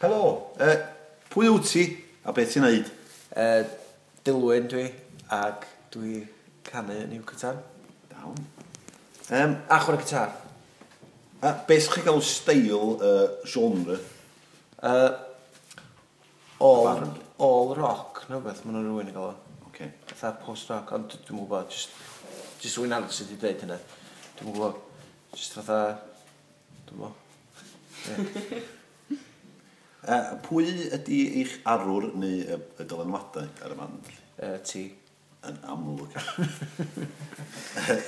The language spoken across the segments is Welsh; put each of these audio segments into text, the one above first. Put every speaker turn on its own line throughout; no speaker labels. Helo, uh, pwy wyt ti a beth ti'n neud?
Uh, Dilwyn dwi, ac dwi canu yn i'w cytar.
Dawn. Um,
A chwarae cytar.
a beth chi'n gael steil uh, genre?
Uh, all,
Apparently.
all rock, no beth, maen nhw'n rhywun yn gael o.
Okay.
Fatha post-rock, ond dwi- dwi'n gwybod, just, just rwy'n arall sydd wedi dweud hynna. Dwi'n gwybod, just fatha, dwi'n gwybod.
Uh, pwy ydy eich arwr neu y, y dylanwadau ar y band?
Uh, ti.
Yn amlwg. Yy,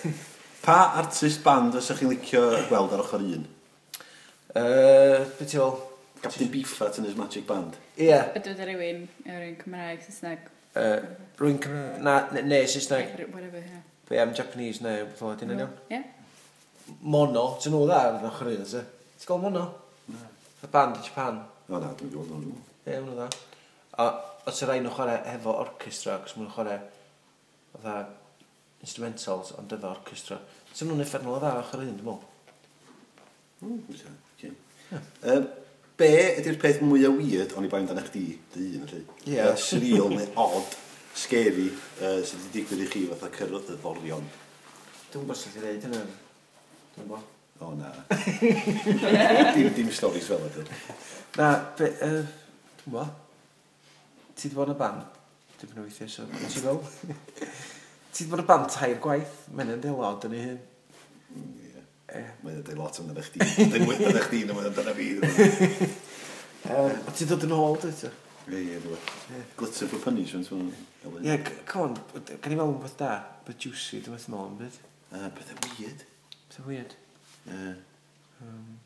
pa artist band fysa chi'n licio gweld ar ochr un?
Uh, Be ti ôl?
Captain Beefheart yn his Magic Band.
Ie.
Ydw wedi rhywun, yr un Cymraeg, Saesneg,
Uh, Rwy'n Cymraeg, na, ne, ne, Saesneg,
whatever, ie.
be am Japanese, ne, beth oedd hynny'n iawn.
Ie?
Mono, ti'n nhw dda yn ochr un, ydw? Ti'n gael mono? Y band i Japan.
O na, dwi'n gweld nhw'n nhw.
Ie, yeah, dda. A os y rai nhw'n chwarae hefo orchestra, cos maen nhw'n chwarae fatha instrumentals, ond efo orchestra. Swn nhw'n effernol o dda ochr un, dwi'n meddwl.
Mm, pwysa, oce. Yym, Be ydy'r peth mwyaf weird o'n i bai amdano chdi, dy un, felly?
Ie.
Yy, Surreal neu odd, scary, uh, sydd wedi digwydd i chi fatha cyrraedd y ddorion.
Dwi'n gwybod sut i ddeud hynny. Dwi'n gwybod.
O na. dim, dim storys fel ydyn.
Na, be, uh, dwi'n gwybod. Ti wedi bod yn y band? Dwi'n mynd o weithiau, so dwi'n ti fel. Ti wedi bod yn y band tair gwaith, mae'n yn ddelod yn ei hyn. Ie.
Mae'n dweud lot amdano chdi. Dwi'n wyth amdano chdi, na mae'n amdano fi. Ie,
Yym, A ti dod yn ôl, dwi'n ti?
ie, dwi'n Glitter for punishment, mae'n...
Ie, c- come on, gan i feddwl yn beth da, beth juicy, dwi'n meddwl yn byd.
Uh, Pethau weird.
Beth weird.
Yy,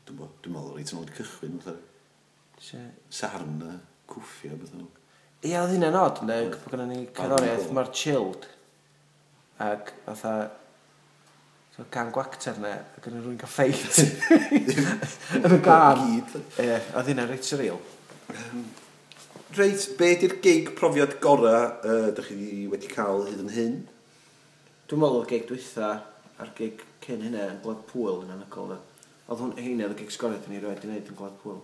Dwi'n bo- dwi'n meddwl reit yn oed cychwyn, fatha
Se-
sarn a cwffio, beth o'n...
Ie, oedd hynna'n od, ynddo, bod gynnu ni cerddoriaeth
Barbecue.
mor chilled. Ac fatha, so gan gwacter yna, ac yn rwy'n cael ffeit. Yn y gan.
Gyd.
Ie, oedd hynna'n reit surreal.
Reit, be ydy'r gig profiad gorau uh, ydych chi wedi cael hyd yn hyn?
Dwi'n meddwl oedd gig dwytha a'r gig cyn hynna yn Glad Pwyl yn anagol. Oedd hwn, heina oedd y gig sgoriad yn ei roed i wneud yn Glad Pwyl.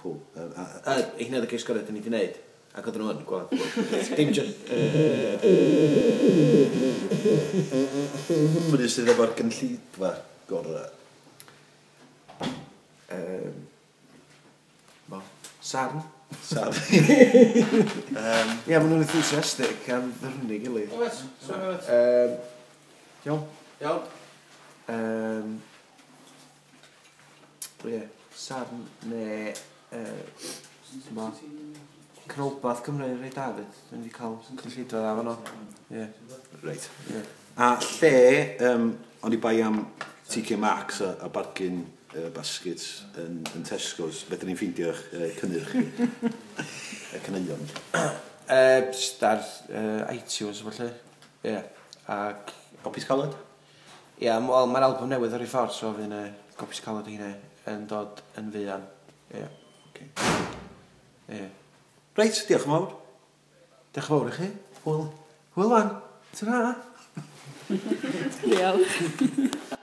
Cool. Uh, a, a,
Y, heina oedd y gig sgoriad yn ei wneud. Ac oedd nhw yn Glad Pwyl. Dim just...
Hwnnw sydd efo'r gynllidfa gorau.
Um, Bo, sarn.
Sarn.
Ie, maen nhw'n enthusiastic am ddyrnu gilydd.
Oes, so oes.
Um, iawn.
Iawn.
Um, ie, sarn neu uh, Ma. cnolbath Cymru Rai David. Dwi'n wedi cael cynllidfa dda fan o. Ie,
Reit.
ie.
A lle, um, o'n i bai am TK Maxx a, a bargin uh, baskets yn, yn Tesco's, beth ni'n ffeindio'ch uh, cynnyrch chi? y cynnion.
Uh, jyst ar uh, iTunes felly. Ie. Ac,
Popis caled?
ie, m- wel, mae'r album newydd ar ei ffordd, so fydd yna gopis calod o hynna yn dod yn fuan. Ie,
Okay.
ie.
Reit, diolch yn fawr.
Diolch yn fawr i chi.
Hwyl.
Hwyl wan, ti'n rha?
Diolch.